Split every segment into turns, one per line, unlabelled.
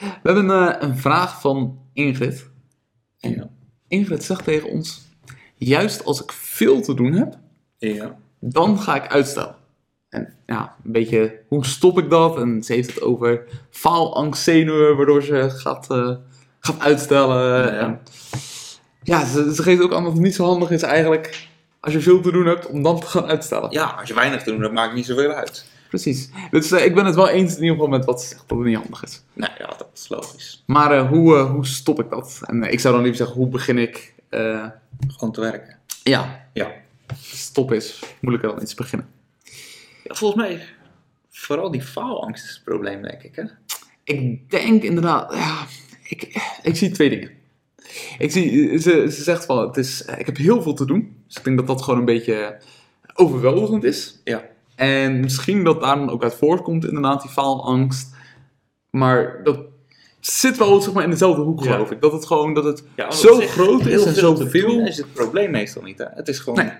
We hebben eh, een vraag van Ingrid.
Ja.
Ingrid zegt tegen ons: Juist als ik veel te doen heb,
Ja.
dan ga ik uitstel. En ja, een beetje hoe stop ik dat? En ze heeft het over faalangst, zenuwen, waardoor ze gaat, eh, gaat uitstellen.
Ja.
En ja ze, ze geeft ook aan dat het niet zo handig is eigenlijk als je veel te doen hebt om dan te gaan uitstellen.
ja, als je weinig te doen hebt, maakt niet zoveel uit.
Precies. Dus eh, ik ben het wel eens in ieder geval met wat ze zegt dat het niet handig is.
Nou ja, dat is logisch.
Maar eh, hoe, eh, hoe stop ik dat? En eh, ik zou dan liever zeggen, hoe begin ik? eh,
Gewoon te werken.
ja,
Ja.
stop is moeilijker dan iets beginnen.
ja volgens mij, vooral die faalangst is het probleem, denk ik. Hè?
Ik denk inderdaad, ja, ik, ik zie twee dingen. Ik zie, eh, ze, ze zegt van, het is, eh, ik heb heel veel te doen. Dus ik denk dat dat gewoon een beetje overweldigend is.
Ja.
En misschien dat daar dan ook uit voortkomt, inderdaad, die faalangst. Maar dat zit wel zeg maar, in dezelfde hoek,
Ja.
geloof ik. Dat het gewoon, dat het
Ja, want
zo
op zich,
groot is
heel
en
veel
zo
te doen
veel.
is het probleem meestal niet. Hè? Het is gewoon
Nee.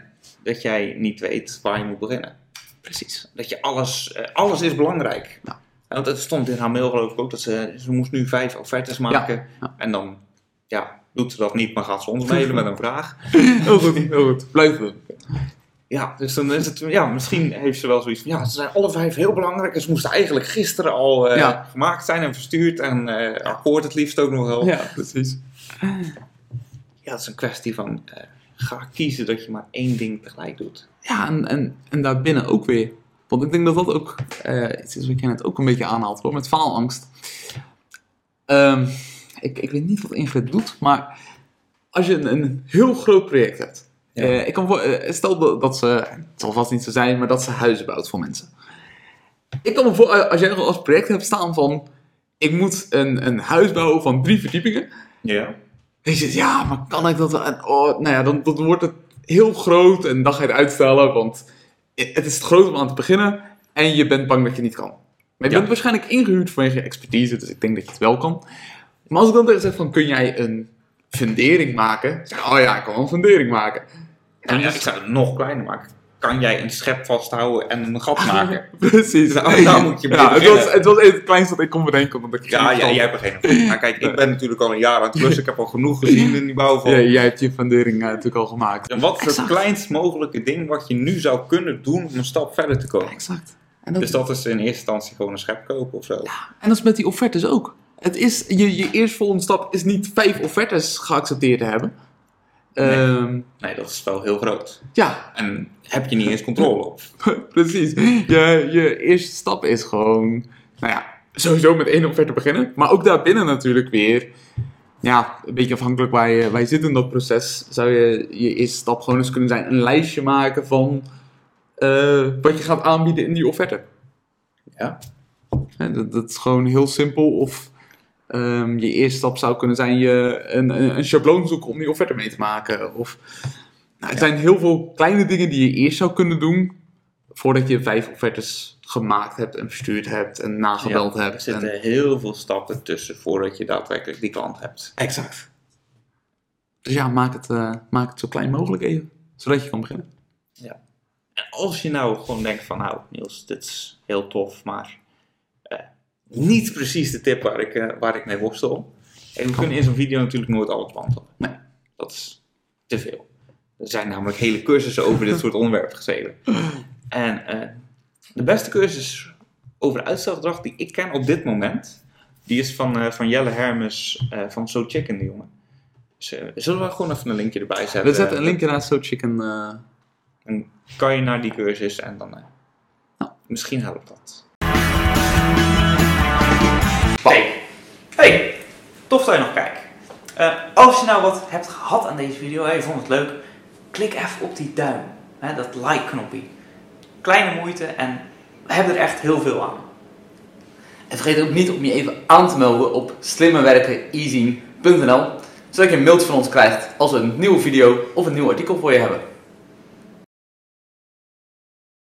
dat jij niet weet waar je moet beginnen. Precies. Dat je alles, eh, alles is belangrijk.
Ja.
Want het stond in haar mail geloof ik ook dat ze, ze moest nu vijf offertes maken. En dan ja, doet ze dat niet, maar gaat ze ons mailen met een vraag.
Heel goed, heel goed. Blijf doen.
Ja, dus dan is het, ja, misschien heeft ze wel zoiets van, ja, ze zijn alle vijf heel belangrijk. en Ze moesten eigenlijk gisteren al eh,
Ja.
gemaakt zijn en verstuurd en eh, akkoord het liefst ook nog wel. Ja.
Ja, precies.
dat is een kwestie van, eh, ga kiezen dat je maar één ding tegelijk doet.
Ja, en, en, en daarbinnen ook weer. Want ik denk dat dat ook eh, iets is wat jij net ook een beetje aanhaalt, hoor, met faalangst. Ehm, ik, ik weet niet wat Ingrid doet, maar als je een, een heel groot project hebt.
Ja.
eh, ik kan voor, eh, stel dat, dat ze, het zal vast niet zo zijn, maar dat ze huizen bouwt voor mensen. Ik kan me voor, eh, als jij nog als project hebt staan van, ik moet een, een huis bouwen van drie verdiepingen.
Ja.
Weet je, ja, maar kan ik dat? en, Oh, nou ja, dan, dan wordt het heel groot en dan ga je het uitstellen, want het is te groot om aan te beginnen en je bent bang dat je niet kan. Maar je
Ja.
bent waarschijnlijk ingehuurd vanwege je expertise, dus ik denk dat je het wel kan. Maar als ik dan tegen zeg van, kun jij een fundering maken? Zeg, oh ja, ik kan wel een fundering maken.
Nou
dus-
ja, ik zou het nog kleiner maken. Kan jij een schep vasthouden en een gat maken?
Precies.
Nou, daar moet je mee
ja, het,
beginnen.
was, het was even het kleinste dat ik kon bedenken. Omdat ik
Ja,
geen
ja,
val-
jij hebt er geen idee. Maar kijk, ik ben natuurlijk al een jaar aan het klussen. Ik heb al genoeg gezien in die bouwval.
Ja, jij hebt je fundering eh, natuurlijk al gemaakt.
En wat is het
Exact.
kleinst mogelijke ding wat je nu zou kunnen doen om een stap verder te komen?
Exact. En dat,
Dus dat is in eerste instantie gewoon een schep kopen of zo.
En dat is met die offertes ook. Het is, je, je eerstvolgende stap is niet vijf offertes geaccepteerd te hebben.
Nee.
Ehm,
Nee, dat is wel heel groot.
ja,
En heb je niet eens controle op.
precies. Je, je eerste stap is gewoon, nou ja, sowieso met één offerte beginnen. Maar ook daarbinnen natuurlijk weer, ja, een beetje afhankelijk waar je, waar je zit in dat proces, zou je je eerste stap gewoon eens kunnen zijn een lijstje maken van eh, wat je gaat aanbieden in die offerte.
Ja.
Hè, dat, dat is gewoon heel simpel. Of ehm, je eerste stap zou kunnen zijn je een, een, een schabloon zoeken om die offerte mee te maken. Of, nou, het zijn heel veel kleine dingen die je eerst zou kunnen doen voordat je vijf offertes gemaakt hebt en verstuurd hebt en nagebeld
Ja, Er
hebt. En,
zitten heel veel stappen tussen voordat je daadwerkelijk die klant hebt.
exact. Dus ja, maak het, eh, maak het zo klein mogelijk even, zodat je kan beginnen.
En als je nou gewoon denkt van nou Niels, dit is heel tof, maar eh, niet precies de tip waar ik, eh, waar ik mee worstel. En we kunnen in zo'n video natuurlijk nooit alle klanten.
Nee.
Dat is te veel. Er zijn namelijk hele cursussen over dit soort onderwerpen geschreven. En eh, de beste cursus over uitstelgedrag die ik ken op dit moment, die is van, eh, van Jelle Hermes eh, van So Chicken, die jongen. Dus, eh, zullen we gewoon even een linkje erbij zetten?
We zetten een linkje naar So Chicken. eh,
Dan kan je naar die cursus en dan. eh, misschien helpt dat. Hey! Hey! Tof dat je nog kijkt. Eh, als je nou wat hebt gehad aan deze video en je vond het leuk, klik even op die duim. Hè, dat like-knopje. Kleine moeite en we hebben er echt heel veel aan.
En vergeet ook niet om je even aan te melden op slimmewerkeneasy.nl, zodat je een mailtje van ons krijgt als we een nieuwe video of een nieuw artikel voor je hebben.